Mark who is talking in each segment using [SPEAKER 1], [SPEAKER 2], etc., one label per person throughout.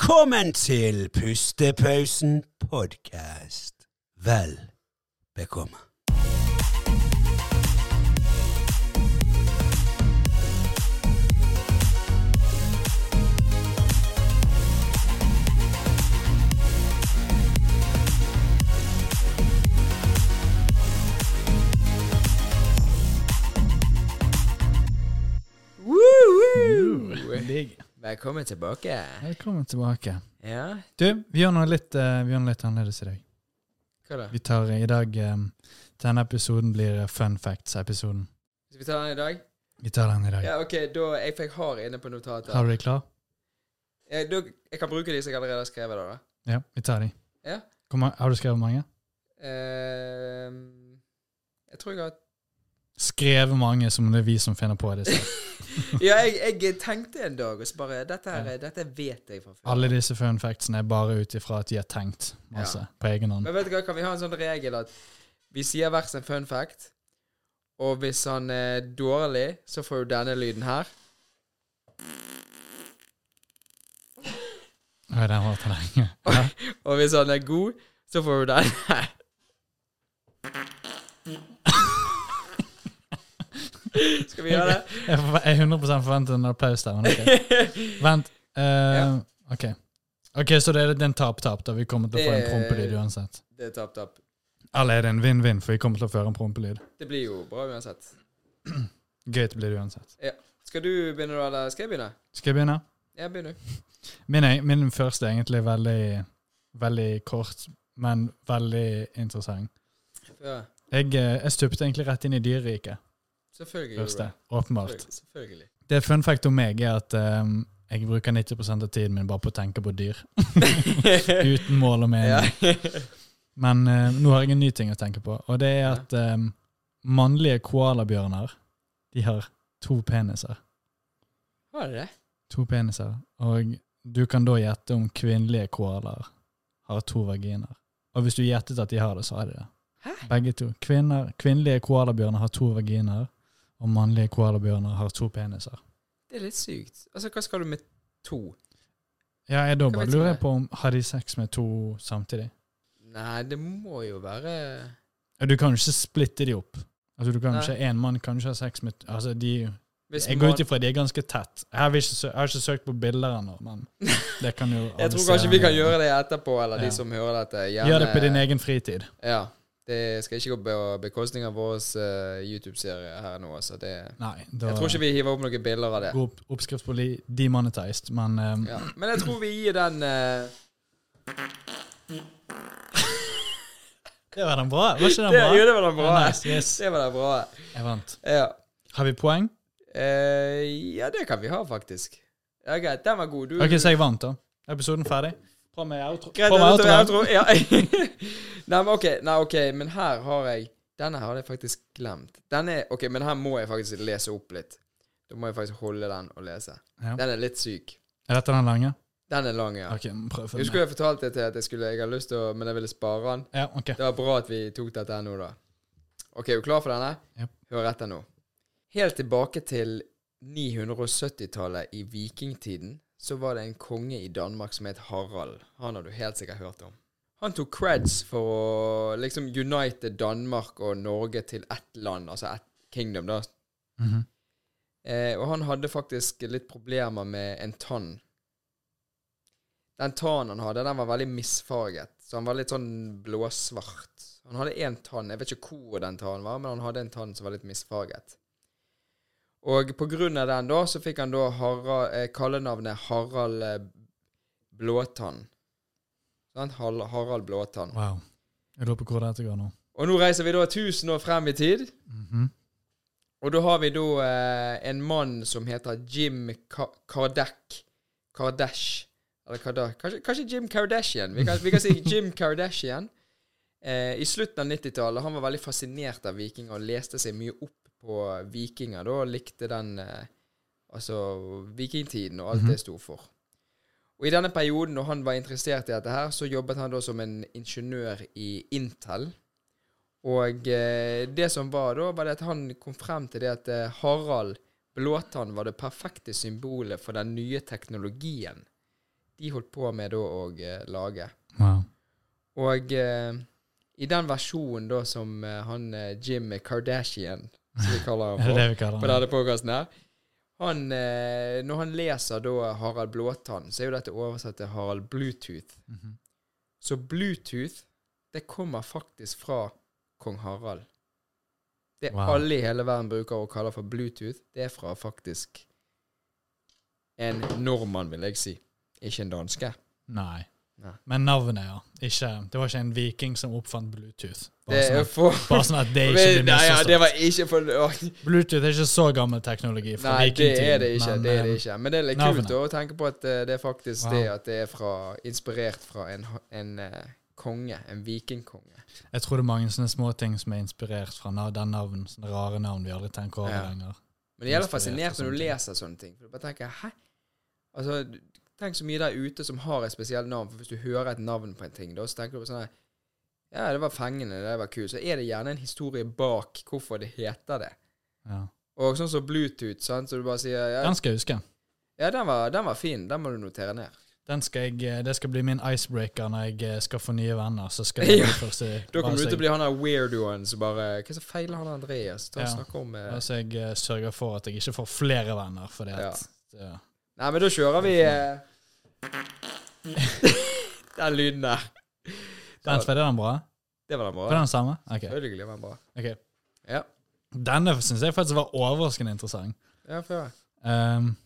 [SPEAKER 1] Velkommen til Pustepausen podkast. Vel bekomme.
[SPEAKER 2] Digg.
[SPEAKER 3] Velkommen tilbake.
[SPEAKER 2] Velkommen tilbake.
[SPEAKER 3] Ja,
[SPEAKER 2] Du, vi gjør noe litt, eh, vi gjør noe litt annerledes i dag.
[SPEAKER 3] hva da?
[SPEAKER 2] Vi tar eh, i dag eh, Denne episoden blir eh, fun facts-episoden.
[SPEAKER 3] Skal vi ta den i dag?
[SPEAKER 2] Vi tar den i dag.
[SPEAKER 3] Ja, ok, da Jeg fikk hard inne på notatet.
[SPEAKER 2] Har du deg klar?
[SPEAKER 3] Jeg, da, jeg kan bruke de som jeg allerede har skrevet, da. da.
[SPEAKER 2] Ja, vi tar de.
[SPEAKER 3] Ja.
[SPEAKER 2] Hvor ma- har du skrevet mange?
[SPEAKER 3] Ehm, jeg tror jeg har
[SPEAKER 2] Skrevet mange som det er vi som finner på disse.
[SPEAKER 3] Ja, jeg, jeg tenkte en dag, og så bare Dette, her, dette vet jeg fra før.
[SPEAKER 2] Alle disse fun factsene er bare ut ifra at de har tenkt masse på egen hånd.
[SPEAKER 3] Men vet du hva, kan vi ha en sånn regel at vi sier hver sin fun fact, og hvis han er dårlig, så får du denne lyden her.
[SPEAKER 2] Oi, den var for lenge. Ja.
[SPEAKER 3] Og hvis han er god, så får du den her. Skal vi gjøre det?
[SPEAKER 2] Jeg forve- jeg 100 forventer en applaus der, men ok. Vent. eh,
[SPEAKER 3] Ja.
[SPEAKER 2] ok. Ok, så det er det er en tap-tap, da vi kommer til å få en
[SPEAKER 3] Det-
[SPEAKER 2] prompelyd uansett.
[SPEAKER 3] Det er tap, tap.
[SPEAKER 2] Eller er det en vinn-vinn, for vi kommer til å føre en prompelyd?
[SPEAKER 3] Det blir jo bra uansett.
[SPEAKER 2] Gøy blir det uansett.
[SPEAKER 3] Skal du begynne, da, eller skal jeg begynne?
[SPEAKER 2] Skal jeg begynne?
[SPEAKER 3] Jeg begynner.
[SPEAKER 2] Min, er- min første er egentlig veldig, veldig kort, men veldig interessant.
[SPEAKER 3] Ja,
[SPEAKER 2] Jeg, eh, jeg stupte egentlig rett inn i dyreriket
[SPEAKER 3] selvfølgelig. gjorde du
[SPEAKER 2] første.
[SPEAKER 3] det.
[SPEAKER 2] Åpenbart.
[SPEAKER 3] Selvfølgelig. selvfølgelig.
[SPEAKER 2] Det fun fact om meg er at eh, jeg bruker 90 av tiden min bare på å tenke på dyr. Uten mål og mening.
[SPEAKER 3] Ja.
[SPEAKER 2] Men eh, nå har jeg en ny ting å tenke på, og det er
[SPEAKER 3] Ja.
[SPEAKER 2] at eh, mannlige koalabjørner de har to peniser.
[SPEAKER 3] Var det det?
[SPEAKER 2] To peniser. Og du kan da gjette om kvinnelige koalaer har to vaginer. Og hvis du gjettet at de har det, så har de det.
[SPEAKER 3] Hæ?
[SPEAKER 2] Begge to. Kvinner, kvinnelige koalabjørner har to vaginer, og mannlige koalabjørner har to peniser.
[SPEAKER 3] Det er litt sykt. Altså, hva skal du med to?
[SPEAKER 2] Ja, jeg da
[SPEAKER 3] Hva
[SPEAKER 2] bare
[SPEAKER 3] vet
[SPEAKER 2] lurer
[SPEAKER 3] jeg?
[SPEAKER 2] jeg på om har de sex med to samtidig?
[SPEAKER 3] Nei, det må jo være
[SPEAKER 2] Ja, Du kan jo ikke splitte de opp. Altså, du kan jo
[SPEAKER 3] Nei.
[SPEAKER 2] ikke, En mann kan jo ikke ha sex med Altså, de
[SPEAKER 3] Hvis
[SPEAKER 2] Jeg går
[SPEAKER 3] man-
[SPEAKER 2] ut ifra de er ganske tett. Jeg har, ikke, sø- jeg har ikke søkt på bilder ennå, men det kan jo
[SPEAKER 3] Jeg tror
[SPEAKER 2] alle
[SPEAKER 3] kanskje vi
[SPEAKER 2] seerne
[SPEAKER 3] kan gjøre det etterpå, eller
[SPEAKER 2] Ja.
[SPEAKER 3] de som hører dette. Gjerne,
[SPEAKER 2] Gjør det på din egen fritid.
[SPEAKER 3] Ja. Det skal ikke gå på bekostning av vår eh, YouTube-serie her nå, altså. Det,
[SPEAKER 2] Nei, da
[SPEAKER 3] jeg tror ikke vi hiver opp noen bilder av det.
[SPEAKER 2] går opp, oppskrift på li- demonetized, men ehm,
[SPEAKER 3] Ja. Men jeg tror vi gir den eh,
[SPEAKER 2] Det var den bra? Var ikke den
[SPEAKER 3] det,
[SPEAKER 2] bra?
[SPEAKER 3] Jo, det var den bra.
[SPEAKER 2] Ja, nice, yes.
[SPEAKER 3] Det var den bra.
[SPEAKER 2] Jeg vant.
[SPEAKER 3] Ja.
[SPEAKER 2] Har vi poeng?
[SPEAKER 3] Eh, ja, det kan vi ha, faktisk. Ja, greit. Den var god. Du,
[SPEAKER 2] OK, så jeg vant, da. Episoden ferdig. På med outro.
[SPEAKER 3] Greit,
[SPEAKER 2] På med
[SPEAKER 3] jeg tror- jeg
[SPEAKER 2] outro.
[SPEAKER 3] tror- ja. Nei, men ok, nei, ok, men her har jeg Denne her hadde jeg faktisk glemt. Denne, ok, Men her må jeg faktisk lese opp litt. Da må jeg faktisk holde den og lese.
[SPEAKER 2] Ja.
[SPEAKER 3] Den er litt syk.
[SPEAKER 2] Er dette den lange?
[SPEAKER 3] Den er lang, ja.
[SPEAKER 2] OK, men prøv å
[SPEAKER 3] Jeg
[SPEAKER 2] følge
[SPEAKER 3] husker
[SPEAKER 2] med.
[SPEAKER 3] jeg fortalte det til at jeg skulle Jeg har lyst til å Men jeg ville spare den.
[SPEAKER 2] Ja, OK.
[SPEAKER 3] Det var bra at vi tok dette her nå, da. Ok, er du klar for denne?
[SPEAKER 2] Japp.
[SPEAKER 3] Hør etter nå. Helt tilbake til 970-tallet i vikingtiden så var det en konge i Danmark som het Harald. Han har du helt sikkert hørt om. Han tok creds for å liksom unite Danmark og Norge til ett land, altså ett kingdom, da.
[SPEAKER 2] Mhm.
[SPEAKER 3] Eh, og han hadde faktisk litt problemer med en tann. Den tannen han hadde, den var veldig misfarget. Så han var litt sånn blåsvart. Han hadde én tann. Jeg vet ikke hvor den tannen var, men han hadde en tann som var litt misfarget. Og på grunn av den da, så fikk han da Harald, eh, kallenavnet Harald eh, Blåtann. Sant? Hal- Harald Blåtann.
[SPEAKER 2] Wow. Jeg lurer på hvor dette går nå.
[SPEAKER 3] Og nå reiser vi da 1000 år frem i tid.
[SPEAKER 2] Mhm.
[SPEAKER 3] Og da har vi da eh, en mann som heter Jim Ka Kardec. Kardash. Eller Karda kanskje, kanskje Jim Kardashian. Vi kan, vi kan si Jim Kardashian. Eh, I slutten av 90-tallet han var veldig fascinert av vikinger og leste seg mye opp på vikinger. Da og likte den eh, altså vikingtiden og alt det sto for. Og I denne perioden når han var interessert i dette, her, så jobbet han da som en ingeniør i Intel. Og eh, det som var da, var det at han kom frem til det at eh, Harald Blåtann var det perfekte symbolet for den nye teknologien de holdt på med da å eh, lage.
[SPEAKER 2] Wow.
[SPEAKER 3] Og eh, i den versjonen da som eh, han eh, Jim Kardashian, som vi kaller
[SPEAKER 2] Er det
[SPEAKER 3] han
[SPEAKER 2] det
[SPEAKER 3] for,
[SPEAKER 2] vi kaller
[SPEAKER 3] på
[SPEAKER 2] det?
[SPEAKER 3] denne podcasten her, han, eh, når han leser da Harald Blåtann, så er jo dette oversatt til Harald Bluetooth.
[SPEAKER 2] Mhm.
[SPEAKER 3] Så Bluetooth, det kommer faktisk fra kong Harald. Det
[SPEAKER 2] Wow.
[SPEAKER 3] alle i hele verden bruker og kaller for Bluetooth, det er fra faktisk en nordmann, vil jeg si. Ikke en danske.
[SPEAKER 2] Nei.
[SPEAKER 3] Nei.
[SPEAKER 2] Men navnet, ja. Ikke, det var ikke en viking som oppfant Bluetooth. Bare,
[SPEAKER 3] Det
[SPEAKER 2] sånn,
[SPEAKER 3] er
[SPEAKER 2] at,
[SPEAKER 3] for...
[SPEAKER 2] bare sånn at det ikke blir
[SPEAKER 3] Nei, ja,
[SPEAKER 2] misforstått.
[SPEAKER 3] det var ikke for Åh,
[SPEAKER 2] Bluetooth er ikke så gammel teknologi fra
[SPEAKER 3] Nei, det
[SPEAKER 2] vikingtiden.
[SPEAKER 3] er det ikke.
[SPEAKER 2] men,
[SPEAKER 3] det er det
[SPEAKER 2] eh,
[SPEAKER 3] ikke. Men det er litt
[SPEAKER 2] navnet.
[SPEAKER 3] kult å tenke på at eh, det er faktisk
[SPEAKER 2] Wow.
[SPEAKER 3] det at det er fra, inspirert fra en, ha- en eh, konge. En vikingkonge.
[SPEAKER 2] Jeg tror det er mange sånne småting som er inspirert fra na- den navn, sånne rare navn vi aldri tenker over
[SPEAKER 3] Ja.
[SPEAKER 2] lenger.
[SPEAKER 3] Men det gjelder
[SPEAKER 2] Inspirert
[SPEAKER 3] fascinert
[SPEAKER 2] av
[SPEAKER 3] når
[SPEAKER 2] sånne
[SPEAKER 3] du
[SPEAKER 2] ting.
[SPEAKER 3] leser sånne ting. For du bare tenker, hæ? Altså, du- Tenk så mye der ute som har et spesielt navn. For hvis du hører et navn på en ting, da, så tenker du på sånn her Ja, det var fengende, det var kult. Så er det gjerne en historie bak hvorfor det heter det.
[SPEAKER 2] Ja.
[SPEAKER 3] Og sånn som Bluetooth, sant, så du bare sier Ja,
[SPEAKER 2] Den skal jeg huske.
[SPEAKER 3] ja den, var, den var fin. Den må du notere ned.
[SPEAKER 2] Den skal jeg, eh, det skal bli min icebreaker når jeg eh, skal få nye venner. Så skal jeg
[SPEAKER 3] Ja.
[SPEAKER 2] bare så-
[SPEAKER 3] Da
[SPEAKER 2] bare
[SPEAKER 3] kommer du
[SPEAKER 2] så
[SPEAKER 3] til å
[SPEAKER 2] jeg-
[SPEAKER 3] bli han der weirdoen som bare Hva er det som feiler han Andreas? Ta og
[SPEAKER 2] Ja.
[SPEAKER 3] snakke om eh.
[SPEAKER 2] bare så jeg eh, sørger for at jeg ikke får flere venner, fordi at ja.
[SPEAKER 3] Nei, men da kjører vi eh, Den lyden der.
[SPEAKER 2] Den var den bra?
[SPEAKER 3] Det var den
[SPEAKER 2] Var
[SPEAKER 3] bra.
[SPEAKER 2] den samme? Ok.
[SPEAKER 3] Selvfølgelig var den bra.
[SPEAKER 2] ok.
[SPEAKER 3] Ja.
[SPEAKER 2] Denne syns jeg faktisk var overraskende interessant.
[SPEAKER 3] Ja, før. jeg.
[SPEAKER 2] Ehm,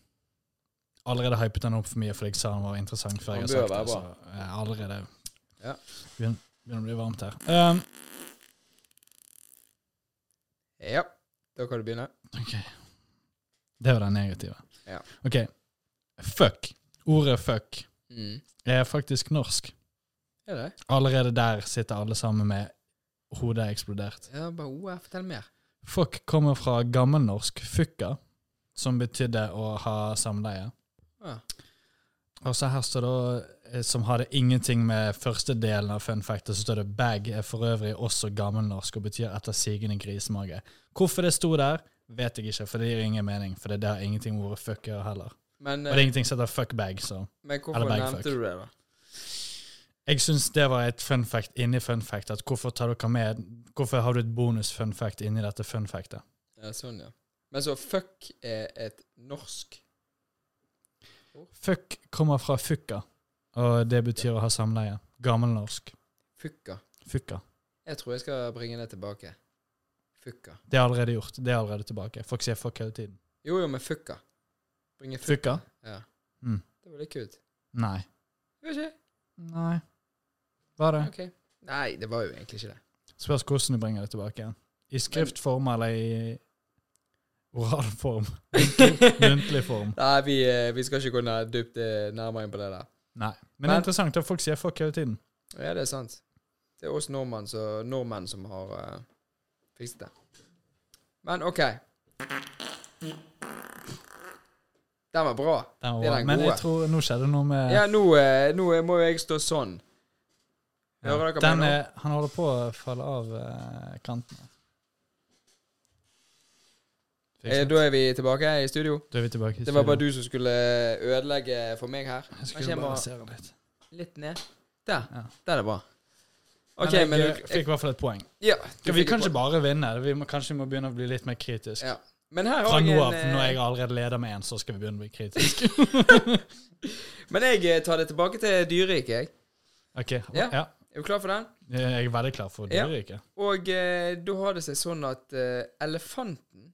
[SPEAKER 2] allerede hypet den opp for mye fordi jeg sa den var interessant før jeg
[SPEAKER 3] Den
[SPEAKER 2] har sagt
[SPEAKER 3] bør
[SPEAKER 2] det. Så eh,
[SPEAKER 3] være
[SPEAKER 2] jeg er allerede
[SPEAKER 3] Ja.
[SPEAKER 2] begynner, begynner å bli varmt her. Ehm,
[SPEAKER 3] Ja. Da kan du begynne.
[SPEAKER 2] ok. Det var den negative.
[SPEAKER 3] Ja.
[SPEAKER 2] Ok. Fuck. Ordet fuck
[SPEAKER 3] Mm.
[SPEAKER 2] er faktisk norsk.
[SPEAKER 3] Er det?
[SPEAKER 2] Allerede der sitter alle sammen med hodet eksplodert.
[SPEAKER 3] Ja, bare OA, fortell mer.
[SPEAKER 2] Fuck kommer fra gammelnorsk fukka, som betydde å ha samleie.
[SPEAKER 3] Ja.
[SPEAKER 2] Og så her står det også, eh, som hadde ingenting med første delen av fun fact, og så står det bag er for øvrig også gammelnorsk og betyr etter sigende grisemage. Hvorfor det sto der, vet jeg ikke, for det gir ingen mening, for det det har ingenting med ordet fuck å gjøre heller.
[SPEAKER 3] Men,
[SPEAKER 2] Og det
[SPEAKER 3] eh,
[SPEAKER 2] er ingenting som heter fuck bag, så.
[SPEAKER 3] men hvorfor
[SPEAKER 2] eller bagfuck.
[SPEAKER 3] nevnte du det, da?
[SPEAKER 2] Jeg syns det var et fun fact inni fun fact, at hvorfor tar dere med, hvorfor har du et bonus fun fact inni dette fun factet?
[SPEAKER 3] Ja, sånn, ja. Men så fuck er et norsk
[SPEAKER 2] Fuck kommer fra fukka, og det betyr å ha samleie. Gammelnorsk.
[SPEAKER 3] fucka.
[SPEAKER 2] Fukka.
[SPEAKER 3] Jeg tror jeg skal bringe det tilbake. Fucka.
[SPEAKER 2] Det er allerede gjort. Det er allerede tilbake. Folk sier fuck hele tiden.
[SPEAKER 3] Jo, jo, men fucka. Bringe fucka.
[SPEAKER 2] Fukka?
[SPEAKER 3] Ja.
[SPEAKER 2] Mm.
[SPEAKER 3] Det var litt kult.
[SPEAKER 2] Nei.
[SPEAKER 3] Var ikke?
[SPEAKER 2] Nei. Var det?
[SPEAKER 3] Ok. Nei, det var jo egentlig ikke det.
[SPEAKER 2] Spørs hvordan du bringer det tilbake igjen. I skriftform eller i oralform? Muntlig form?
[SPEAKER 3] Nei, vi, eh, vi skal ikke gå nær, dypt eh, nærmere inn på det der.
[SPEAKER 2] Nei. Men det
[SPEAKER 3] Men-
[SPEAKER 2] er interessant at folk sier fuck hele tiden.
[SPEAKER 3] Ja, det er sant. Det er oss nordmenn, så, nordmenn som har eh, fikset det. Men OK. Den var bra.
[SPEAKER 2] Den var
[SPEAKER 3] Det er
[SPEAKER 2] bra.
[SPEAKER 3] den
[SPEAKER 2] Men
[SPEAKER 3] gode.
[SPEAKER 2] jeg tror nå skjedde noe med
[SPEAKER 3] Ja, nå, eh, nå eh, må jo jeg stå sånn. Hører dere
[SPEAKER 2] Den
[SPEAKER 3] meg nå?
[SPEAKER 2] er, han holder på å falle av eh, kantene.
[SPEAKER 3] Eh, Da er vi tilbake i studio.
[SPEAKER 2] Da er vi tilbake. i
[SPEAKER 3] Det var bare
[SPEAKER 2] studio.
[SPEAKER 3] du som skulle eh, ødelegge for meg her.
[SPEAKER 2] Jeg
[SPEAKER 3] Kanskje
[SPEAKER 2] skulle
[SPEAKER 3] jeg må
[SPEAKER 2] bare se det litt.
[SPEAKER 3] litt ned. Der.
[SPEAKER 2] Ja.
[SPEAKER 3] Der er det bra. OK,
[SPEAKER 2] jeg
[SPEAKER 3] men
[SPEAKER 2] eh,
[SPEAKER 3] du
[SPEAKER 2] fikk i hvert fall et poeng.
[SPEAKER 3] Ja. du
[SPEAKER 2] Skal vi
[SPEAKER 3] fikk et
[SPEAKER 2] kan ikke
[SPEAKER 3] poeng.
[SPEAKER 2] bare vinne. Vi må, kanskje vi må begynne å bli litt mer kritisk.
[SPEAKER 3] Ja. Men her
[SPEAKER 2] Fra
[SPEAKER 3] har
[SPEAKER 2] nå
[SPEAKER 3] jeg
[SPEAKER 2] av,
[SPEAKER 3] en eh,
[SPEAKER 2] når jeg allerede leder med én, så skal vi begynne å bli kritiske.
[SPEAKER 3] Men jeg eh, tar det tilbake til dyreriket, jeg.
[SPEAKER 2] Ok,
[SPEAKER 3] Ja.
[SPEAKER 2] ja.
[SPEAKER 3] Er du klar for den?
[SPEAKER 2] Jeg er veldig klar for
[SPEAKER 3] Ja.
[SPEAKER 2] dyreriket.
[SPEAKER 3] Og eh, da har det seg sånn at eh, elefanten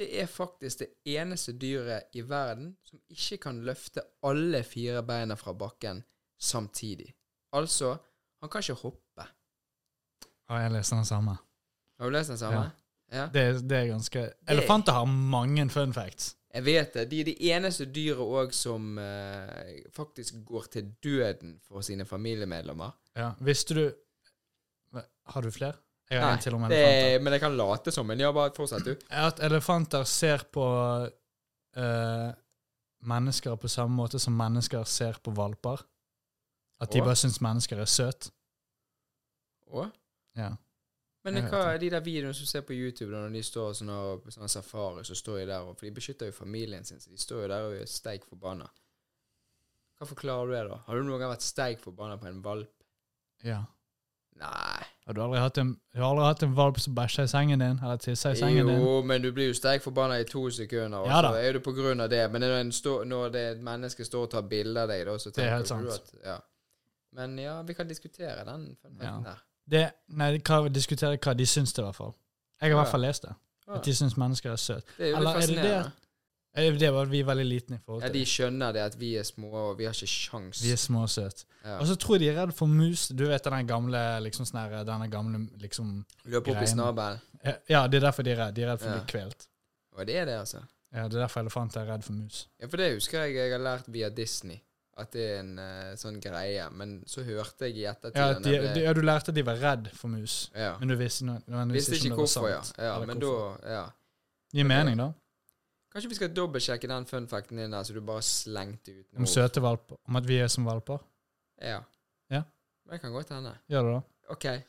[SPEAKER 3] det er faktisk det eneste dyret i verden som ikke kan løfte alle fire beina fra bakken samtidig. Altså, han kan ikke hoppe.
[SPEAKER 2] Ja. Jeg leser den samme.
[SPEAKER 3] Har du lest den samme? Ja.
[SPEAKER 2] Det, er- det er ganske Elefanter har mange fun facts.
[SPEAKER 3] Jeg vet det. De er de eneste dyret òg som eh, faktisk går til døden for sine familiemedlemmer.
[SPEAKER 2] Ja. Visste du Hva- Har du flere? Jeg har en til om
[SPEAKER 3] det,
[SPEAKER 2] elefanter.
[SPEAKER 3] men jeg kan late som. Men ja, bare fortsett, du.
[SPEAKER 2] At elefanter ser på eh, mennesker på samme måte som mennesker ser på valper. At de
[SPEAKER 3] Å.
[SPEAKER 2] bare syns mennesker er søt.
[SPEAKER 3] Å?
[SPEAKER 2] Ja.
[SPEAKER 3] Men
[SPEAKER 2] Jeg
[SPEAKER 3] hva
[SPEAKER 2] vet
[SPEAKER 3] er de der videoene som du ser på YouTube, da, når de står sånn og, på sånn safari, så står de der og For de beskytter jo familien sin, så de står jo der og er steik forbanna. Hva forklarer du det, da? Har du noen gang vært steik forbanna på en valp?
[SPEAKER 2] Ja.
[SPEAKER 3] Nei.
[SPEAKER 2] Har du aldri hatt en, har du aldri hatt en valp som bæsja i sengen din? Eller tissa i sengen din?
[SPEAKER 3] Jo, men du blir jo steik forbanna i to sekunder, og
[SPEAKER 2] Ja da.
[SPEAKER 3] så er det på grunn av det. Men når, en står- når det er et menneske står og tar bilde av deg, da, så
[SPEAKER 2] er
[SPEAKER 3] tenker
[SPEAKER 2] helt
[SPEAKER 3] du
[SPEAKER 2] sant.
[SPEAKER 3] at ja. Men ja, vi kan diskutere den fun facten der.
[SPEAKER 2] Det, nei, hva, diskutere hva de syns det, i hvert fall. Jeg har i
[SPEAKER 3] Ja.
[SPEAKER 2] hvert fall lest det. At de syns mennesker er søte.
[SPEAKER 3] Det er jo
[SPEAKER 2] Eller er
[SPEAKER 3] litt
[SPEAKER 2] det det
[SPEAKER 3] fascinerende.
[SPEAKER 2] Eh, Det var vi veldig liten i forhold
[SPEAKER 3] Ja,
[SPEAKER 2] til.
[SPEAKER 3] de skjønner det at vi er små, og vi har ikke sjans.
[SPEAKER 2] Vi er små og søte.
[SPEAKER 3] Ja.
[SPEAKER 2] Og så tror jeg de er redd for mus. Du vet den gamle liksom sånn her, denne gamle liksom
[SPEAKER 3] Løper opp i
[SPEAKER 2] Greien.
[SPEAKER 3] snabelen.
[SPEAKER 2] Eh, Ja, det er derfor de er redd. De er redd for å
[SPEAKER 3] Ja.
[SPEAKER 2] bli kvelt.
[SPEAKER 3] Og det er det, altså.
[SPEAKER 2] Ja, det er derfor elefanter er redd for mus.
[SPEAKER 3] Ja, for det husker jeg jeg har lært via Disney. At det er en eh, sånn greie. Men så hørte jeg i ettertid
[SPEAKER 2] Ja,
[SPEAKER 3] den
[SPEAKER 2] de,
[SPEAKER 3] der-
[SPEAKER 2] de, ja, du lærte at de var redd for mus,
[SPEAKER 3] ja.
[SPEAKER 2] men du visste, nø- nødvendigvis
[SPEAKER 3] Visste ikke
[SPEAKER 2] om det var
[SPEAKER 3] hvorfor, ja.
[SPEAKER 2] sant,
[SPEAKER 3] ja
[SPEAKER 2] eller
[SPEAKER 3] men da
[SPEAKER 2] hvorfor.
[SPEAKER 3] ja.
[SPEAKER 2] Gir mening, da.
[SPEAKER 3] Kanskje vi skal dobbeltsjekke den funfacten din der, så du bare slengte ut
[SPEAKER 2] Om søte valper. Om at vi er som valper.
[SPEAKER 3] Ja.
[SPEAKER 2] Ja.
[SPEAKER 3] Det kan godt hende.
[SPEAKER 2] Gjør det, da?
[SPEAKER 3] OK.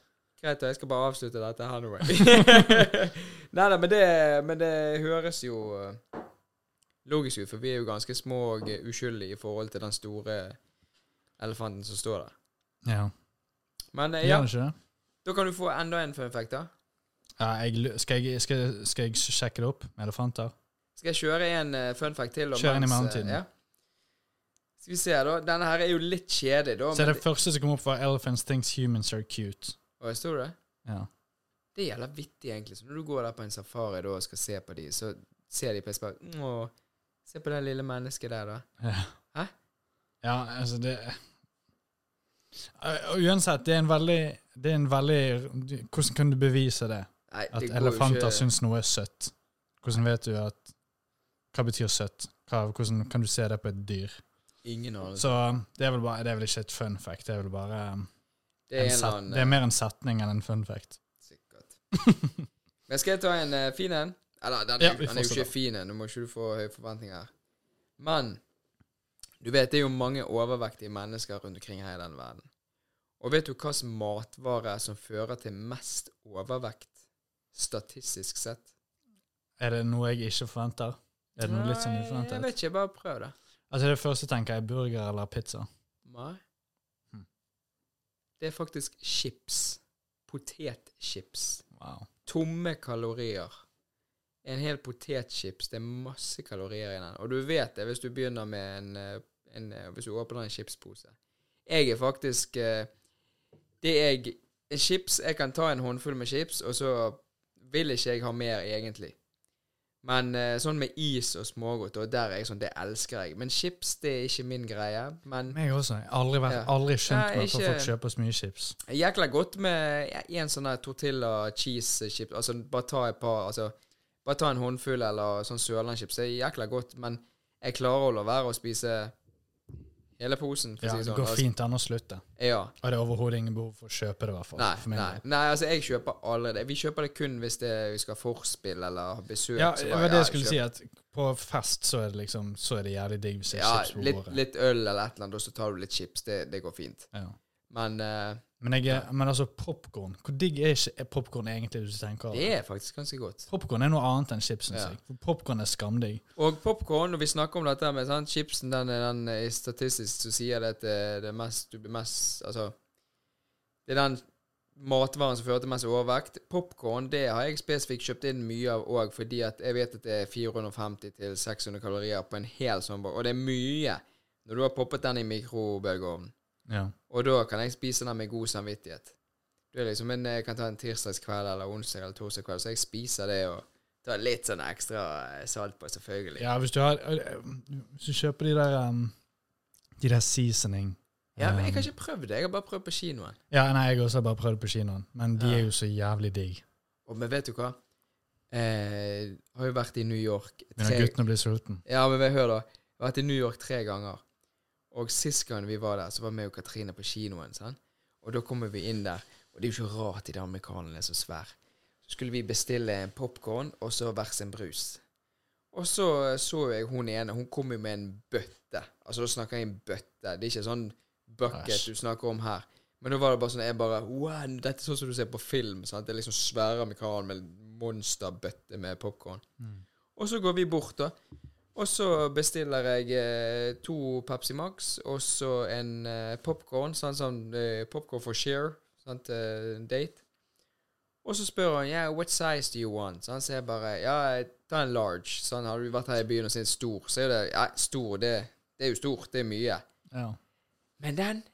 [SPEAKER 3] Greit, da. Jeg skal bare avslutte dette her nå. jeg. nei da, men det, men det høres jo eh, logisk ut, for vi er jo ganske små og eh, uskyldige i forhold til den store elefanten som står der.
[SPEAKER 2] Ja.
[SPEAKER 3] Men eh,
[SPEAKER 2] Gjør
[SPEAKER 3] ja,
[SPEAKER 2] det ikke det?
[SPEAKER 3] da kan du få enda en funfact, da.
[SPEAKER 2] Ja, jeg, lu- skal, jeg, skal, skal jeg sjekke det opp med elefanter?
[SPEAKER 3] Skal jeg kjøre en eh, fun fact til? om
[SPEAKER 2] Kjør en i
[SPEAKER 3] mens, eh,
[SPEAKER 2] mellomtiden.
[SPEAKER 3] ja. Skal vi se, da. Denne her er jo litt kjedelig, da.
[SPEAKER 2] Så
[SPEAKER 3] men
[SPEAKER 2] det første som kom opp, var 'Elephants thinks humans are cute'.
[SPEAKER 3] Å, jeg står det?
[SPEAKER 2] Ja.
[SPEAKER 3] Det er jævla vittig, egentlig. Så når du går der på en safari da, og skal se på de, så ser de på seg Å, se på det lille mennesket der, da.
[SPEAKER 2] Ja, altså det Eh, Og Uansett, det er en veldig det er en veldig, Hvordan kan du bevise det?
[SPEAKER 3] Nei,
[SPEAKER 2] At
[SPEAKER 3] det går jo
[SPEAKER 2] elefanter
[SPEAKER 3] ikke-
[SPEAKER 2] syns noe er søtt. Hvordan vet du at Hva betyr søtt? Hva, hvordan kan du se det på et dyr?
[SPEAKER 3] Ingen anelse.
[SPEAKER 2] Så um, det er vel, bare, det er vel ikke et fun fact. Det er vel bare um,
[SPEAKER 3] Det er
[SPEAKER 2] en
[SPEAKER 3] en eller
[SPEAKER 2] set,
[SPEAKER 3] annen eh,
[SPEAKER 2] det er mer en setning enn en fun fact.
[SPEAKER 3] Sikkert. Men skal jeg ta en eh, fin en? Eller, den, er-
[SPEAKER 2] Ja, vi
[SPEAKER 3] den er jo
[SPEAKER 2] fortsetter.
[SPEAKER 3] ikke fin en. Nå må ikke du få høye forventninger. Men du vet, det er jo mange overvektige mennesker rundt omkring her i den verden. Og vet du hvilken matvare som fører til mest overvekt statistisk sett?
[SPEAKER 2] Er det noe jeg ikke forventer? Er det noe litt sånn
[SPEAKER 3] Nei, Jeg
[SPEAKER 2] uforventet?
[SPEAKER 3] vet ikke, bare prøv det.
[SPEAKER 2] Altså Det første tenker jeg er burger eller pizza.
[SPEAKER 3] Nei.
[SPEAKER 2] Hm.
[SPEAKER 3] Det er faktisk chips. Potetchips.
[SPEAKER 2] Wow.
[SPEAKER 3] tomme kalorier. En hel potetchips, det er masse kalorier i den. Og du vet det hvis du begynner med en, eh, en eh, Hvis du åpner en chipspose. Jeg er faktisk eh, Det jeg en Chips Jeg kan ta en håndfull med chips, og så vil ikke jeg ha mer, egentlig. Men eh, sånn med is og smågodt, og der er jeg sånn Det elsker jeg. Men chips, det er ikke min greie. Men
[SPEAKER 2] Meg også. Jeg har aldri, vært,
[SPEAKER 3] Ja.
[SPEAKER 2] aldri skjønt
[SPEAKER 3] Nei,
[SPEAKER 2] meg på at folk
[SPEAKER 3] ikke-
[SPEAKER 2] kjøper så mye chips.
[SPEAKER 3] Jækla godt med ja, en sånn der tortilla cheese chips. Altså, bare ta et par altså, Bare ta en håndfull eller sånn sørlandschips. Det er jækla godt, men jeg klarer å la være å spise hele posen, for å
[SPEAKER 2] Ja,
[SPEAKER 3] si det
[SPEAKER 2] det
[SPEAKER 3] sånn.
[SPEAKER 2] går fint an å slutte.
[SPEAKER 3] Altså, ja.
[SPEAKER 2] Og det er overhodet ingen behov for å kjøpe det, i hvert fall.
[SPEAKER 3] Nei,
[SPEAKER 2] for min
[SPEAKER 3] nei,
[SPEAKER 2] del.
[SPEAKER 3] nei, altså jeg kjøper aldri det. Vi kjøper det kun hvis det, vi skal ha forspill eller ha besøk.
[SPEAKER 2] Ja,
[SPEAKER 3] så
[SPEAKER 2] det
[SPEAKER 3] bare,
[SPEAKER 2] var det jeg
[SPEAKER 3] ja,
[SPEAKER 2] skulle
[SPEAKER 3] kjøp-
[SPEAKER 2] si, at på fest så er det liksom Så er det jævlig digg hvis det er
[SPEAKER 3] Ja,
[SPEAKER 2] chips på
[SPEAKER 3] litt,
[SPEAKER 2] bordet.
[SPEAKER 3] litt øl eller et eller annet, og så tar du litt chips. Det, det går fint.
[SPEAKER 2] Ja.
[SPEAKER 3] Men eh,
[SPEAKER 2] Men, jeg, er- men altså, popkorn Hvor digg er ikke popkorn egentlig, hvis du tenker over
[SPEAKER 3] det
[SPEAKER 2] det?
[SPEAKER 3] er faktisk ganske godt.
[SPEAKER 2] Popkorn er noe annet enn chips, syns
[SPEAKER 3] Ja.
[SPEAKER 2] jeg. For Popkorn er skamdigg.
[SPEAKER 3] Og popkorn, når vi snakker om dette med sant, chipsen, den, er den eh, statistisk så sier det at det, det er mest, du blir mest Altså Det er den matvaren som fører til mest overvekt. Popkorn har jeg spesifikt kjøpt inn mye av òg, fordi at jeg vet at det er 450-600 kalorier på en hel sånn Og det er mye når du har poppet den i mikrobølgeovnen.
[SPEAKER 2] Ja.
[SPEAKER 3] Og da kan jeg spise den med god samvittighet. Du er liksom en, jeg kan ta en tirsdagskveld eller onsdag eller torsdag kveld, så jeg spiser det og tar litt sånn ekstra eh, salt på, selvfølgelig.
[SPEAKER 2] ja, hvis du har øh, Hvis du kjøper de der um, De der seasoning
[SPEAKER 3] Ja, men jeg
[SPEAKER 2] um,
[SPEAKER 3] har ikke prøvd det. Jeg har bare prøvd på kinoen.
[SPEAKER 2] Ja, nei, jeg også har bare prøvd på kinoen, men de
[SPEAKER 3] Ja.
[SPEAKER 2] er jo så jævlig digg.
[SPEAKER 3] Og, men vet du hva? Eh, har jo vært i New York
[SPEAKER 2] Men når guttene blir sultne.
[SPEAKER 3] Ja, men hør da. Jeg har vært i New York tre ganger. Og sist gang vi var der, så var vi og Katrine på kinoen. Sant? Og da kommer vi inn der, og det er jo ikke rart de amerikanerne er så svære. Så skulle vi bestille en popkorn og så hver sin brus. Og så så jeg hun ene, hun kom jo med en bøtte. Altså da snakker jeg en bøtte. Det er ikke sånn bucket
[SPEAKER 2] Æsj.
[SPEAKER 3] du snakker om her. Men da var det bare sånn, jeg bare Wow, dette er sånn som du ser på film. Sant? Det er liksom svære amerikanere med monsterbøtte med popkorn. Og så går vi bort, da. Og så bestiller jeg eh, to Pepsi Max og så en eh, popkorn. Sånn, sånn eh, popkorn for share. Sant, eh, date. Og så spør han yeah, what size do you want. Så han sier bare ja, ta en large. Sånn, Har du vært her i byen og sett stor, så er det ja, stor. Det, det er jo stort. Det er mye.
[SPEAKER 2] Ja.
[SPEAKER 3] Men den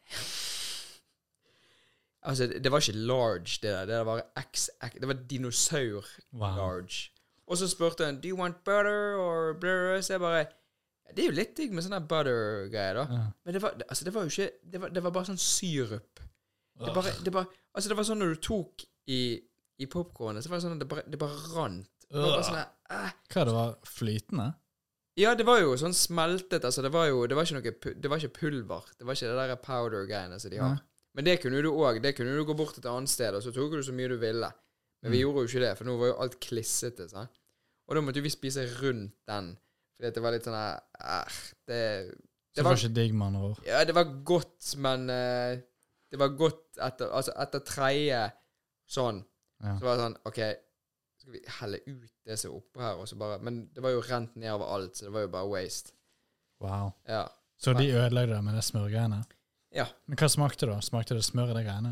[SPEAKER 3] Altså, det det var ikke large, det der. Det der var XX Det var
[SPEAKER 2] Wow.
[SPEAKER 3] dinosaur-large. Og så spurte han Do you want butter or blur? Så jeg bare «Ja, Det er jo litt digg med sånn der butter-greier, da.
[SPEAKER 2] Ja.
[SPEAKER 3] Men det var, altså, det var jo ikke Det var, det var bare sånn syrup. Det bare, det bare Altså, det var sånn når du tok i, i popkornet, så var det sånn at det bare, det bare rant. Det var bare sånn der, eh.
[SPEAKER 2] Hva det var? Flytende?
[SPEAKER 3] Ja, det var jo sånn smeltet. Altså, det var jo Det var ikke, noe, pu- det var ikke pulver. Det var ikke det der powder-greiene som de har.
[SPEAKER 2] Nei.
[SPEAKER 3] Men det kunne du òg. Det kunne du gå bort et annet sted, og så tok du så mye du ville. Men
[SPEAKER 2] Mm.
[SPEAKER 3] vi gjorde jo ikke det, for nå var jo alt klissete. Sant? Og da måtte jo vi spise rundt den. Fordi at det var litt sånn her eh, det,
[SPEAKER 2] Så
[SPEAKER 3] det,
[SPEAKER 2] det var
[SPEAKER 3] var,
[SPEAKER 2] ikke digg, med andre ord.
[SPEAKER 3] ja, det var godt, men eh, Det var godt etter Altså, etter tredje sånn,
[SPEAKER 2] Ja.
[SPEAKER 3] så var det sånn OK, skal vi helle ut det som er oppå her, og så bare Men det var jo rent nedover alt, så det var jo bare waste.
[SPEAKER 2] Wow.
[SPEAKER 3] Ja.
[SPEAKER 2] Så de ødelagde det med det smørgreiene?
[SPEAKER 3] Ja.
[SPEAKER 2] Men hva smakte det? da? Smakte det smør i de greiene?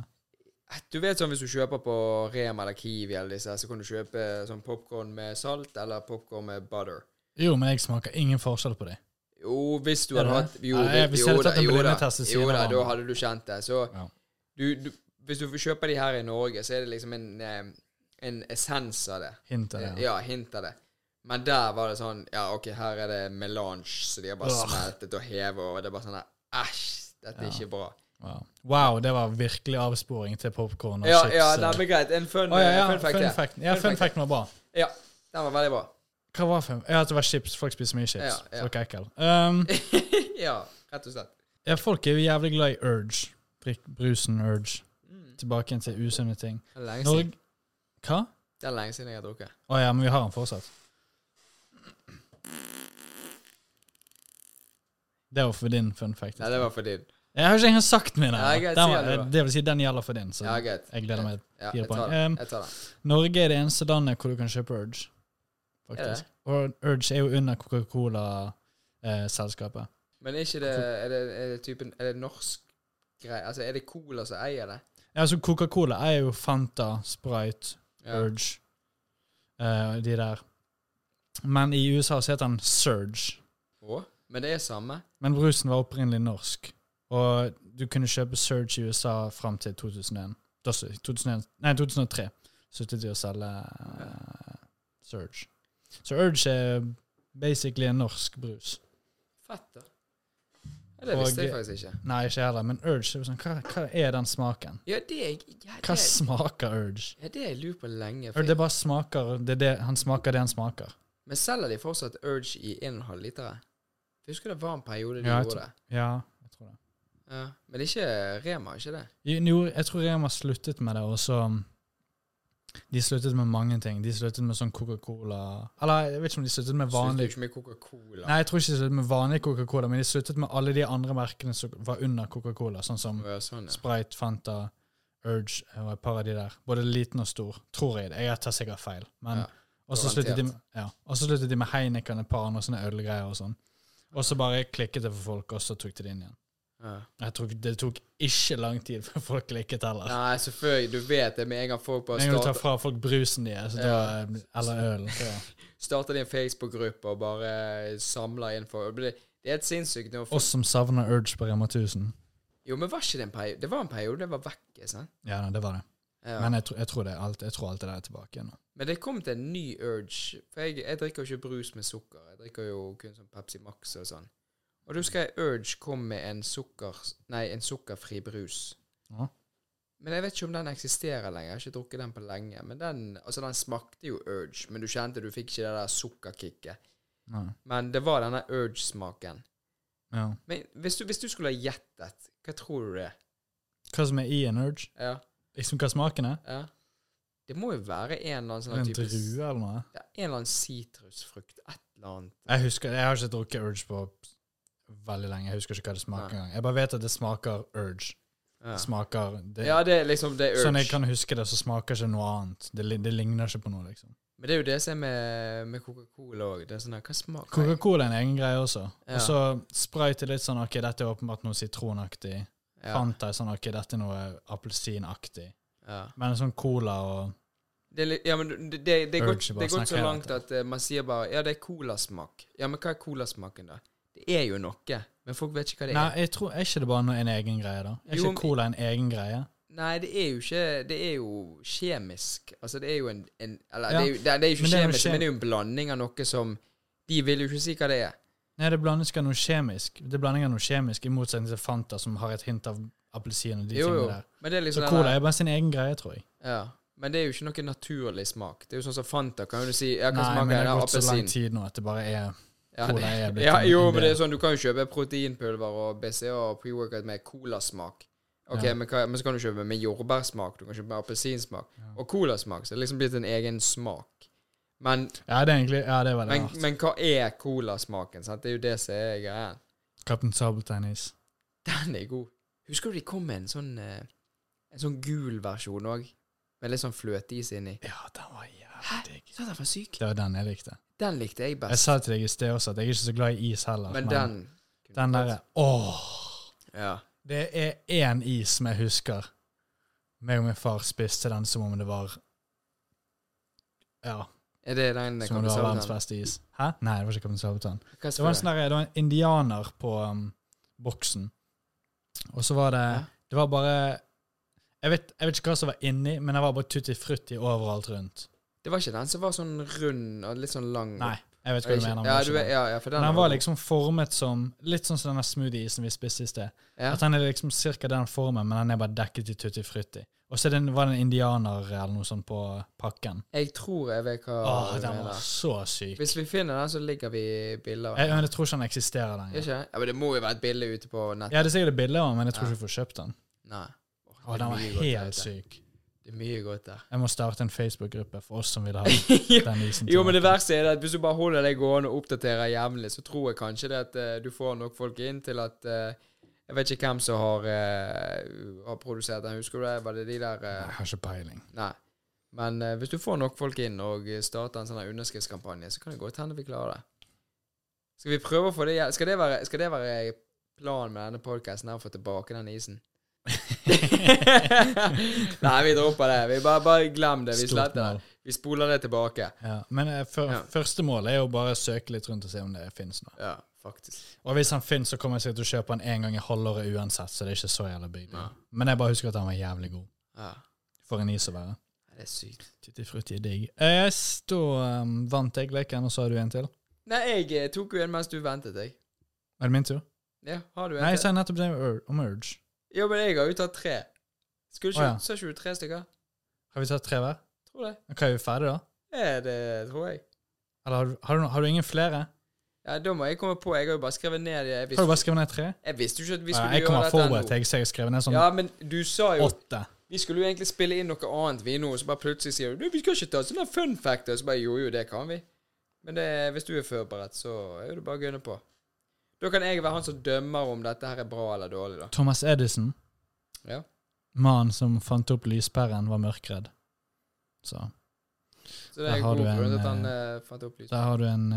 [SPEAKER 3] Du vet sånn hvis du kjøper på Rema eller Kiwi eller disse, her, så kan du kjøpe sånn popkorn med salt eller popkorn med butter.
[SPEAKER 2] Jo, men jeg smaker ingen forskjell på dem.
[SPEAKER 3] Jo, hvis du
[SPEAKER 2] Er
[SPEAKER 3] hadde
[SPEAKER 2] det
[SPEAKER 3] hatt
[SPEAKER 2] det?
[SPEAKER 3] Jo,
[SPEAKER 2] Nei,
[SPEAKER 3] vi-
[SPEAKER 2] hvis jeg
[SPEAKER 3] jo
[SPEAKER 2] hadde
[SPEAKER 3] da,
[SPEAKER 2] tatt en
[SPEAKER 3] jo da,
[SPEAKER 2] blindetest, så sier
[SPEAKER 3] jo
[SPEAKER 2] det
[SPEAKER 3] da,
[SPEAKER 2] noe
[SPEAKER 3] da
[SPEAKER 2] annet.
[SPEAKER 3] hadde du kjent det. Så
[SPEAKER 2] Ja.
[SPEAKER 3] du, du, hvis du kjøper de her i Norge, så er det liksom en, eh, en essens av det.
[SPEAKER 2] Hint av det.
[SPEAKER 3] Ja,
[SPEAKER 2] Ja.
[SPEAKER 3] hint av det. Men der var det sånn Ja, OK, her er det melange, så de har bare
[SPEAKER 2] Åh.
[SPEAKER 3] smeltet og hevet, og det er bare sånn her, Æsj, dette er ikke bra.
[SPEAKER 2] Wow. wow, det var virkelig avsporing til popkorn og
[SPEAKER 3] Ja,
[SPEAKER 2] chips.
[SPEAKER 3] ja,
[SPEAKER 2] eh.
[SPEAKER 3] nei, men greit. En fun, eh,
[SPEAKER 2] Å, ja, ja,
[SPEAKER 3] fun fact.
[SPEAKER 2] fun
[SPEAKER 3] ja.
[SPEAKER 2] fact. Ja,
[SPEAKER 3] Fun
[SPEAKER 2] fun
[SPEAKER 3] fact.
[SPEAKER 2] facten var bra.
[SPEAKER 3] Ja, den var veldig bra.
[SPEAKER 2] Hva var fun? Ja, at det var chips. Folk spiser mye chips.
[SPEAKER 3] Ja, ja.
[SPEAKER 2] Folk er ekkel. Um,
[SPEAKER 3] Ja, rett og slett.
[SPEAKER 2] ja, folk er jo jævlig glad i Urge. Drikk brusen Urge.
[SPEAKER 3] Mm.
[SPEAKER 2] Tilbake igjen til usunne ting.
[SPEAKER 3] Det er lenge siden,
[SPEAKER 2] Norge Hva?
[SPEAKER 3] det er lenge siden jeg har drukket.
[SPEAKER 2] Å ja, men vi har den fortsatt. Det var for din fun fact.
[SPEAKER 3] Nei, det var for din.
[SPEAKER 2] Jeg har ikke engang sagt min.
[SPEAKER 3] Ja, greit, si
[SPEAKER 2] ennå. Den var-
[SPEAKER 3] det da.
[SPEAKER 2] Det vil si, den gjelder for din. Så
[SPEAKER 3] Ja, greit.
[SPEAKER 2] jeg gleder meg.
[SPEAKER 3] Ja,
[SPEAKER 2] Fire
[SPEAKER 3] jeg tar
[SPEAKER 2] poeng.
[SPEAKER 3] den.
[SPEAKER 2] Ehm,
[SPEAKER 3] Jeg tar den.
[SPEAKER 2] Norge er det eneste landet hvor du kan kjøpe Urge.
[SPEAKER 3] Er
[SPEAKER 2] Faktisk.
[SPEAKER 3] det?
[SPEAKER 2] Og Urge er jo under eh, Coca-Cola-selskapet.
[SPEAKER 3] Men er ikke det Er det, er det typen Er det norsk greie? Altså, er det Cola som eier det?
[SPEAKER 2] ja, altså Coca-Cola er jo Fanta, Sprite,
[SPEAKER 3] Ja.
[SPEAKER 2] Urge eh, De der. Men i USA så heter den Surge.
[SPEAKER 3] Å? Men det er samme?
[SPEAKER 2] Men brusen var opprinnelig norsk. Og du kunne kjøpe Surge i USA fram til 2001. Da så- 2001 nei, 2003 sluttet de å selge eh, Surge. Så Urge er basically en norsk brus.
[SPEAKER 3] Fett, da. Ja, det
[SPEAKER 2] Og-
[SPEAKER 3] visste jeg faktisk ikke.
[SPEAKER 2] Nei, ikke heller, men Urge er jo sånn, hva, hva er den smaken?
[SPEAKER 3] Ja, det er ja, det,
[SPEAKER 2] Hva
[SPEAKER 3] er-
[SPEAKER 2] smaker Urge?
[SPEAKER 3] ja, det har jeg lurt på lenge. for
[SPEAKER 2] Urge, Det bare smaker det er det, Han smaker det han smaker.
[SPEAKER 3] jeg- Men selger de fortsatt Urge i 1,5 liter? Jeg husker det var en periode de
[SPEAKER 2] Ja, jeg
[SPEAKER 3] gjorde
[SPEAKER 2] tror-
[SPEAKER 3] det.
[SPEAKER 2] Ja, jeg tror det.
[SPEAKER 3] Ja. Men det er ikke Rema, ikke det?
[SPEAKER 2] Jo, jo, jeg tror Rema sluttet med det, og så um, De sluttet med mange ting. De sluttet med sånn Coca-Cola Eller jeg vet ikke om de sluttet med
[SPEAKER 3] Vanlig.
[SPEAKER 2] vanlig
[SPEAKER 3] Ikke med Coca-Cola.
[SPEAKER 2] Nei, jeg tror ikke de sluttet med vanlig Coca-Cola, men de sluttet med alle de andre merkene som var under Coca-Cola, sånn som
[SPEAKER 3] Ja, Sånn, ja.
[SPEAKER 2] Sprite, Fanta, Urge eh, og et par av de der. Både liten og stor, tror jeg det. Jeg tar sikkert feil. Men,
[SPEAKER 3] Ja,
[SPEAKER 2] og så
[SPEAKER 3] garantert.
[SPEAKER 2] sluttet, de med- ja, og så sluttet de med Heineken et par andre sånne ølgreier og sånn. Og så bare klikket det for folk, og så tok de det inn igjen.
[SPEAKER 3] ja.
[SPEAKER 2] Jeg tror Det tok ikke lang tid før folk klikket heller.
[SPEAKER 3] Nei, selvfølgelig. Du vet det med en gang folk bare
[SPEAKER 2] Med en gang du tar
[SPEAKER 3] starter,
[SPEAKER 2] fra folk brusen deres, så da, eller ølen så-
[SPEAKER 3] starter din Facebook-gruppe og bare eh, samler inn for Det det er helt sinnssykt nå.
[SPEAKER 2] Oss som savner Urge på Rema 1000.
[SPEAKER 3] Jo, men var ikke det en periode Det var en periode det var vekk, sant?
[SPEAKER 2] Ja, nei, det var det.
[SPEAKER 3] Ja.
[SPEAKER 2] Men
[SPEAKER 3] Men,
[SPEAKER 2] jeg, tro- jeg, tror det er alt, jeg tror alt det der er tilbake igjen. nå.
[SPEAKER 3] det kom til en ny urge. For jeg, jeg drikker jo ikke brus med sukker. Jeg drikker jo kun sånn Pepsi Max og sånn. Og
[SPEAKER 2] Mm.
[SPEAKER 3] da husker jeg Urge kom med en sukker... Nei, en sukkerfri brus.
[SPEAKER 2] Ja.
[SPEAKER 3] Men jeg vet ikke om den eksisterer lenger. Jeg har ikke drukket den på lenge. Men den, altså den smakte jo Urge, men du kjente du fikk ikke det der sukkerkicket.
[SPEAKER 2] Nei.
[SPEAKER 3] Men det var denne Urge-smaken.
[SPEAKER 2] Ja.
[SPEAKER 3] Men hvis du, hvis du skulle ha gjettet, hva tror du det er?
[SPEAKER 2] Hva som er i en Urge?
[SPEAKER 3] Ja,
[SPEAKER 2] Liksom hva smaken er?
[SPEAKER 3] ja. Det må jo være en eller annen sånn
[SPEAKER 2] En
[SPEAKER 3] type
[SPEAKER 2] drue eller noe?
[SPEAKER 3] Ja, En eller annen sitrusfrukt. Et eller annet.
[SPEAKER 2] Jeg husker, jeg har ikke drukket Urge på veldig lenge. Jeg husker ikke hva det smaker engang. Jeg bare vet at det smaker Urge.
[SPEAKER 3] Ja.
[SPEAKER 2] smaker det,
[SPEAKER 3] ja, det er liksom det er urge.
[SPEAKER 2] Sånn jeg kan huske det, så smaker ikke noe annet. Det, li- det ligner ikke på noe, liksom.
[SPEAKER 3] Men det er jo det som er med, med Coca-Cola òg. Det er sånn der, hva smaker jeg?
[SPEAKER 2] Coca-Cola er en egen greie også.
[SPEAKER 3] Ja.
[SPEAKER 2] Og så sprite er litt sånn OK, dette er åpenbart noe sitronaktig.
[SPEAKER 3] Ja,
[SPEAKER 2] Fanta er sånn OK, dette er noe appelsinaktig.
[SPEAKER 3] ja.
[SPEAKER 2] Men sånn cola og
[SPEAKER 3] Det er, litt- ja, men det, det, det er
[SPEAKER 2] Urge,
[SPEAKER 3] gått, det er
[SPEAKER 2] bare
[SPEAKER 3] gått
[SPEAKER 2] snakker
[SPEAKER 3] så
[SPEAKER 2] jeg
[SPEAKER 3] langt
[SPEAKER 2] etter.
[SPEAKER 3] at eh, man sier bare Ja, det er colasmak. Ja, men hva er colasmaken, da? Det er jo noe, men folk vet ikke hva det
[SPEAKER 2] Nei,
[SPEAKER 3] er.
[SPEAKER 2] jeg tror, er ikke det bare noe, en egen greie, da? Er
[SPEAKER 3] Jo,
[SPEAKER 2] ikke
[SPEAKER 3] men-
[SPEAKER 2] cola en egen greie?
[SPEAKER 3] Nei, det er jo ikke Det er jo kjemisk. Altså, det er jo en, en Eller det,
[SPEAKER 2] Ja,
[SPEAKER 3] er jo, det, det er jo ikke
[SPEAKER 2] men det er jo
[SPEAKER 3] kjemisk,
[SPEAKER 2] kjem-
[SPEAKER 3] men det er jo en blanding av noe som De vil jo ikke si hva det er.
[SPEAKER 2] Nei, det blandes ikke av noe kjemisk. Det er blanding av noe kjemisk, i motsetning til Fanta, som har et hint av appelsin og de
[SPEAKER 3] Jo, jo.
[SPEAKER 2] tingene der.
[SPEAKER 3] Men det er liksom
[SPEAKER 2] Så
[SPEAKER 3] den
[SPEAKER 2] cola
[SPEAKER 3] der-
[SPEAKER 2] er bare sin egen greie, tror jeg.
[SPEAKER 3] ja. Men det er jo ikke noe naturlig smak. Det er jo sånn som Fanta. Kan jo du si ja, hva
[SPEAKER 2] Nei, men
[SPEAKER 3] smaker
[SPEAKER 2] det
[SPEAKER 3] det?
[SPEAKER 2] har
[SPEAKER 3] Ja,
[SPEAKER 2] gått så lang
[SPEAKER 3] Appelsin.
[SPEAKER 2] tid nå at det bare er
[SPEAKER 3] Ja,
[SPEAKER 2] cola
[SPEAKER 3] det-
[SPEAKER 2] er blitt
[SPEAKER 3] ja,
[SPEAKER 2] en-
[SPEAKER 3] jo,
[SPEAKER 2] en
[SPEAKER 3] men det
[SPEAKER 2] del.
[SPEAKER 3] er sånn, du kan jo kjøpe proteinpulver og BCA og pre-workout med colasmak. Ok,
[SPEAKER 2] Ja.
[SPEAKER 3] men, hva, men så kan du kjøpe med jordbærsmak, du kan kjøpe med appelsinsmak og colasmak. Så det er liksom blitt en egen smak. Men,
[SPEAKER 2] Ja, det er egentlig Ja, det var det.
[SPEAKER 3] men,
[SPEAKER 2] rart.
[SPEAKER 3] men hva er colasmaken? Sant? Det er jo det som er greia.
[SPEAKER 2] Kaptein Sabeltann-is.
[SPEAKER 3] Den er god. Husker du de kom med en sånn eh, En sånn gul versjon òg? Med litt sånn fløteis inni.
[SPEAKER 2] Ja, den var
[SPEAKER 3] Hæ?
[SPEAKER 2] jævlig digg.
[SPEAKER 3] Så den var syk.
[SPEAKER 2] Det var den jeg likte.
[SPEAKER 3] Den likte jeg
[SPEAKER 2] Jeg
[SPEAKER 3] best.
[SPEAKER 2] sa til deg i sted også at jeg er ikke så glad i is heller.
[SPEAKER 3] Men den
[SPEAKER 2] den derre Åh!
[SPEAKER 3] Ja.
[SPEAKER 2] Det er én is som jeg husker. Meg og min far spiste den som om det var Ja,
[SPEAKER 3] Er det den
[SPEAKER 2] som om det var verdens
[SPEAKER 3] kapitalen?
[SPEAKER 2] beste is. Hæ? Nei, det var ikke Kaptein Sabeltann.
[SPEAKER 3] Hva
[SPEAKER 2] Det var en
[SPEAKER 3] spør
[SPEAKER 2] sånn derre- det var en indianer på um, boksen, og så var det
[SPEAKER 3] Ja.
[SPEAKER 2] Det var bare jeg vet, jeg vet ikke hva som var inni, men det var bare tutti frutti overalt rundt.
[SPEAKER 3] Det var ikke den som var sånn rund og litt sånn lang.
[SPEAKER 2] Nei, jeg vet hva du mener. men det
[SPEAKER 3] Ja,
[SPEAKER 2] var
[SPEAKER 3] du,
[SPEAKER 2] ikke
[SPEAKER 3] vet-
[SPEAKER 2] den.
[SPEAKER 3] ja, ja, for den
[SPEAKER 2] Men
[SPEAKER 3] er
[SPEAKER 2] den var
[SPEAKER 3] god.
[SPEAKER 2] liksom formet som Litt sånn som denne smoothie-isen vi spiste i sted.
[SPEAKER 3] ja.
[SPEAKER 2] At den er liksom cirka den formen, men den er bare dekket i tutti frutti. Og så er det en- var det en indianer eller noe sånt på pakken.
[SPEAKER 3] Jeg tror jeg vet hva
[SPEAKER 2] Åh,
[SPEAKER 3] du
[SPEAKER 2] den var
[SPEAKER 3] mener.
[SPEAKER 2] så syk.
[SPEAKER 3] Hvis vi finner den, så ligger vi bilder. av
[SPEAKER 2] Jeg,
[SPEAKER 3] den.
[SPEAKER 2] men jeg tror ikke den eksisterer lenger.
[SPEAKER 3] Ikke? Ja, men det må jo være et bilde ute på nett.
[SPEAKER 2] Ja, det er sikkert et bilde av den, men jeg tror ikke jeg får kjøpt den.
[SPEAKER 3] Nei. Åh, det
[SPEAKER 2] Åh,
[SPEAKER 3] er
[SPEAKER 2] den var
[SPEAKER 3] mye godt der
[SPEAKER 2] helt
[SPEAKER 3] ute.
[SPEAKER 2] syk.
[SPEAKER 3] Det er mye godt der.
[SPEAKER 2] Jeg må starte en Facebook-gruppe for oss som vil ha
[SPEAKER 3] Jo,
[SPEAKER 2] den isen.
[SPEAKER 3] jo, men det
[SPEAKER 2] tilbake.
[SPEAKER 3] verste er det at hvis du bare holder deg gående og oppdaterer jevnlig, så tror jeg kanskje det at eh, du får nok folk inn til at eh, Jeg vet ikke hvem som har, eh, har produsert den, husker du det? Var det de der eh,
[SPEAKER 2] Jeg har ikke peiling.
[SPEAKER 3] Nei. Men eh, hvis du får nok folk inn og eh, starter en sånn her underskriftskampanje, så kan det godt hende vi klarer det. Skal vi prøve å få det igjen? Skal det være, skal det være planen med denne podkasten her, å få tilbake den isen? Nei, vi dropper det. Vi bare, bare glem det. Vi
[SPEAKER 2] Stort
[SPEAKER 3] sletter
[SPEAKER 2] mål.
[SPEAKER 3] det. Vi spoler det tilbake.
[SPEAKER 2] Ja, men eh, før-
[SPEAKER 3] Ja.
[SPEAKER 2] første mål er jo bare å søke litt rundt og se om det finnes noe.
[SPEAKER 3] Ja, faktisk.
[SPEAKER 2] Og hvis han finnes, så kommer jeg sikkert til å kjøpe han en gang i halvåret uansett, så det er ikke så jævla big deal.
[SPEAKER 3] Nei.
[SPEAKER 2] Men jeg bare husker at han var jævlig god.
[SPEAKER 3] Ja.
[SPEAKER 2] For en is å være.
[SPEAKER 3] Det er sykt.
[SPEAKER 2] Tutti frutti er digg. Yes, da um, vant jeg leken, og så har du en til.
[SPEAKER 3] Nei, jeg eh, tok jo en mens du ventet, jeg.
[SPEAKER 2] Er det min tur?
[SPEAKER 3] Ja, har du en
[SPEAKER 2] Nei, jeg
[SPEAKER 3] til?
[SPEAKER 2] sa nettopp det med ur- om Urge.
[SPEAKER 3] Jo, men jeg har jo tatt tre. Skulle
[SPEAKER 2] Å,
[SPEAKER 3] ikke,
[SPEAKER 2] ja.
[SPEAKER 3] Sa ikke du tre stykker?
[SPEAKER 2] Har vi tatt tre hver?
[SPEAKER 3] Tror det.
[SPEAKER 2] Ok, er vi ferdige da?
[SPEAKER 3] Ja, det tror jeg.
[SPEAKER 2] Eller har du, har du, no- har du ingen flere?
[SPEAKER 3] Ja, da må jeg komme på. Jeg har jo bare skrevet ned det. Jeg visste,
[SPEAKER 2] Har du bare skrevet ned tre?
[SPEAKER 3] jeg visste jo ikke at vi
[SPEAKER 2] Ja,
[SPEAKER 3] skulle
[SPEAKER 2] jeg
[SPEAKER 3] gjøre
[SPEAKER 2] kommer
[SPEAKER 3] dette
[SPEAKER 2] forberedt,
[SPEAKER 3] ennå.
[SPEAKER 2] jeg ser jeg har skrevet ned sånn
[SPEAKER 3] Ja, men du sa jo
[SPEAKER 2] åtte.
[SPEAKER 3] Vi skulle jo egentlig spille inn noe annet, vi nå, så bare plutselig sier du «Du, vi skal ikke ta sånne fun facts. Og så bare jo, jo, det kan vi. Men det, hvis du er forberedt, så er det bare å gunne på. Da kan jeg være han som dømmer om dette her er bra eller dårlig, da.
[SPEAKER 2] Thomas Edison,
[SPEAKER 3] Ja.
[SPEAKER 2] mannen som fant opp lyspæren, var mørkredd. Så
[SPEAKER 3] Så det
[SPEAKER 2] Der
[SPEAKER 3] er
[SPEAKER 2] har
[SPEAKER 3] god
[SPEAKER 2] du en,
[SPEAKER 3] grunn til at han
[SPEAKER 2] eh,
[SPEAKER 3] eh, fant opp lys.
[SPEAKER 2] der har du en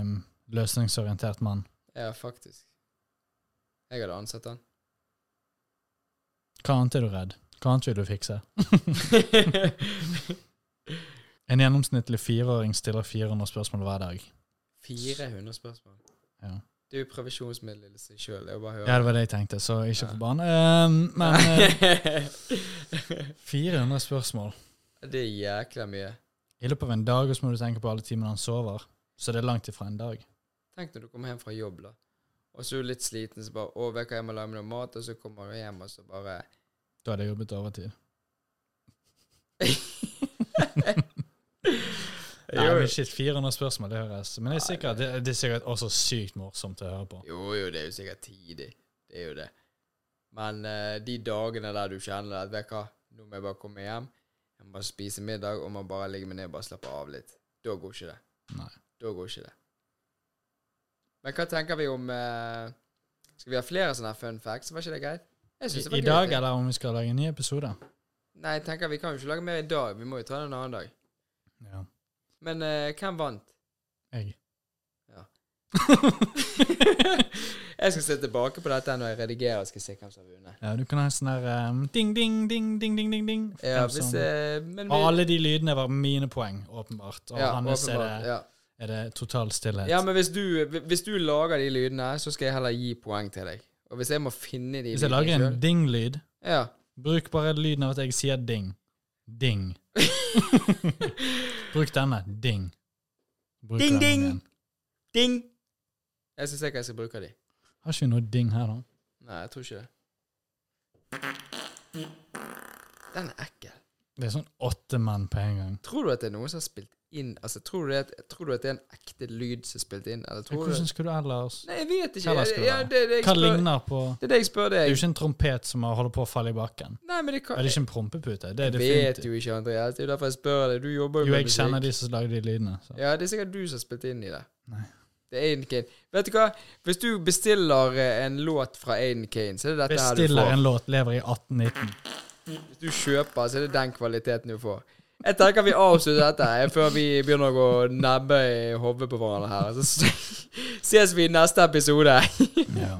[SPEAKER 2] um, løsningsorientert mann.
[SPEAKER 3] Ja, faktisk. Jeg hadde ansatt han.
[SPEAKER 2] Hva annet er du redd? Hva annet vil du fikse? En gjennomsnittlig fireåring stiller 400 spørsmål hver dag.
[SPEAKER 3] 400 spørsmål.
[SPEAKER 2] Ja.
[SPEAKER 3] Det er jo previsjonsmiddel i seg sjøl. Det er jo bare å høre.
[SPEAKER 2] Ja, det var det jeg tenkte, så ikke
[SPEAKER 3] Ja.
[SPEAKER 2] forbann. Um, men eh, 400 spørsmål.
[SPEAKER 3] det er jækla mye.
[SPEAKER 2] I løpet av en dag og så må du tenke på alle timene han sover. Så det er langt ifra en dag.
[SPEAKER 3] Tenk når du kommer hjem fra jobb, da. Og så er du litt sliten, så bare 'Å, vet du hva, jeg må lage meg noe mat', og så kommer du hjem, og så bare
[SPEAKER 2] Da hadde jeg jobbet overtid. Nei,
[SPEAKER 3] Jo,
[SPEAKER 2] men shit, 400 spørsmål, det høres Men det er sikkert, det, det er sikkert også sykt morsomt å høre på.
[SPEAKER 3] jo, jo, det er jo sikkert tidlig. Det er jo det. Men eh, de dagene der du kjenner at 'Vet du hva, nå må jeg bare komme hjem', jeg må bare spise middag, og man bare legger meg ned og bare slapper av litt. Da går ikke det.
[SPEAKER 2] Nei.
[SPEAKER 3] Da går ikke det. Men hva tenker vi om eh, Skal vi ha flere sånne her fun facts? Var ikke det greit? Jeg synes det var
[SPEAKER 2] I, i
[SPEAKER 3] gøy,
[SPEAKER 2] dag,
[SPEAKER 3] det.
[SPEAKER 2] eller om vi skal lage en ny episode.
[SPEAKER 3] Nei, jeg tenker vi kan jo ikke lage mer i dag. Vi må jo ta det en annen dag.
[SPEAKER 2] Ja.
[SPEAKER 3] Men eh, hvem vant?
[SPEAKER 2] Jeg.
[SPEAKER 3] Ja. jeg skal se tilbake på dette når jeg redigerer og skal se hvem som har vunnet.
[SPEAKER 2] ja, du kan ha en sånn der um, ding, ding, ding, ding, ding, ding, ding. for
[SPEAKER 3] Ja,
[SPEAKER 2] hvem
[SPEAKER 3] hvis,
[SPEAKER 2] som- Ah,
[SPEAKER 3] eh, men vi,
[SPEAKER 2] og alle de lydene var mine poeng, åpenbart. Og
[SPEAKER 3] ja,
[SPEAKER 2] hans er
[SPEAKER 3] åpenbart,
[SPEAKER 2] det,
[SPEAKER 3] ja.
[SPEAKER 2] er det total stillhet.
[SPEAKER 3] ja, men hvis du, hvis du lager de lydene, så skal jeg heller gi poeng til deg. Og hvis jeg må finne de
[SPEAKER 2] Hvis jeg
[SPEAKER 3] lydene
[SPEAKER 2] lager en
[SPEAKER 3] selv-
[SPEAKER 2] ding-lyd,
[SPEAKER 3] ja.
[SPEAKER 2] bruk bare lyden av at jeg sier ding. Ding. bruk denne. Ding. Bruk
[SPEAKER 3] Ding,
[SPEAKER 2] den
[SPEAKER 3] ding.
[SPEAKER 2] igjen.
[SPEAKER 3] Ding! Jeg skal se hva jeg skal bruke av de.
[SPEAKER 2] Har ikke vi noe ding her, da?
[SPEAKER 3] Nei, jeg tror ikke det. Den er ekkel.
[SPEAKER 2] Det er sånn åtte menn på en gang.
[SPEAKER 3] Tror du at det er noen som har spilt inn Altså, tror du, det at, tror du at det er en ekte lyd som er spilt inn, eller tror du
[SPEAKER 2] Hvordan skal du ellers
[SPEAKER 3] Nei, jeg vet ikke.
[SPEAKER 2] Hva
[SPEAKER 3] Jeg,
[SPEAKER 2] skulle
[SPEAKER 3] ja,
[SPEAKER 2] det være?
[SPEAKER 3] det, er det, jeg
[SPEAKER 2] Hva
[SPEAKER 3] spør,
[SPEAKER 2] ligner på
[SPEAKER 3] det er det jeg spør
[SPEAKER 2] Det er
[SPEAKER 3] deg.
[SPEAKER 2] jo ikke en trompet som holder på å falle i bakken.
[SPEAKER 3] Nei, men det
[SPEAKER 2] Er
[SPEAKER 3] kan
[SPEAKER 2] det ikke en prompepute? Det
[SPEAKER 3] Jeg
[SPEAKER 2] er
[SPEAKER 3] vet
[SPEAKER 2] definitivt.
[SPEAKER 3] jo ikke, Andreas. Det er jo derfor jeg spør deg. Du jobber
[SPEAKER 2] Jo,
[SPEAKER 3] jo med
[SPEAKER 2] jeg kjenner de som lager de lydene. Så.
[SPEAKER 3] Ja, det er sikkert du som har spilt inn i det.
[SPEAKER 2] Nei.
[SPEAKER 3] Det er Aiden Kane. Vet du hva? Hvis du bestiller eh, en låt fra Aiden Kane, så er det dette
[SPEAKER 2] Bestiller
[SPEAKER 3] her
[SPEAKER 2] en
[SPEAKER 3] du får.
[SPEAKER 2] låt, lever i 1819.
[SPEAKER 3] Hvis du kjøper, så er det den kvaliteten du får. Jeg tenker vi avslutter dette her, før vi begynner å gå nebbe i hodet på hverandre her. Så s- ses vi i neste episode.
[SPEAKER 2] Ja.